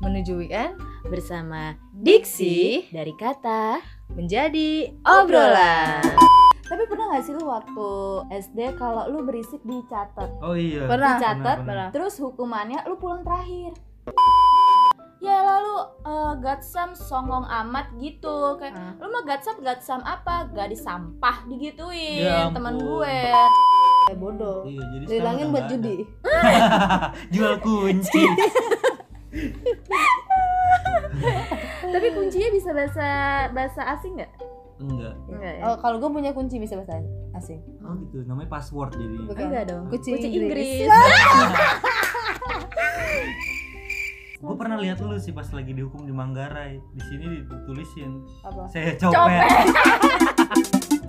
menuju weekend bersama Diksi dari kata menjadi obrolan. obrolan. Tapi pernah gak sih lu waktu SD kalau lu berisik dicatat, Oh iya. Pernah. dicatat, Pernah. terus hukumannya lu pulang terakhir. Ya lalu eh, gatsam songong amat gitu kayak Ah. lu mah gatsam gatsam apa gadis sampah digituin Ya ampun. temen gue Ya, Kayak bodoh. Iya, jadi sekarang Dilangin udah buat nggak ada. judi. Jual kunci. tapi kuncinya bisa bahasa bahasa asing nggak Enggak. Enggak ya? Oh, kalau gue punya kunci bisa bahasa asing. Oh gitu, namanya password jadi. Bukan. Enggak dong. Kucing Inggris. Gue pernah lihat lu sih pas lagi dihukum di Manggarai. Di sini ditulisin Apa? saya Copet. copet.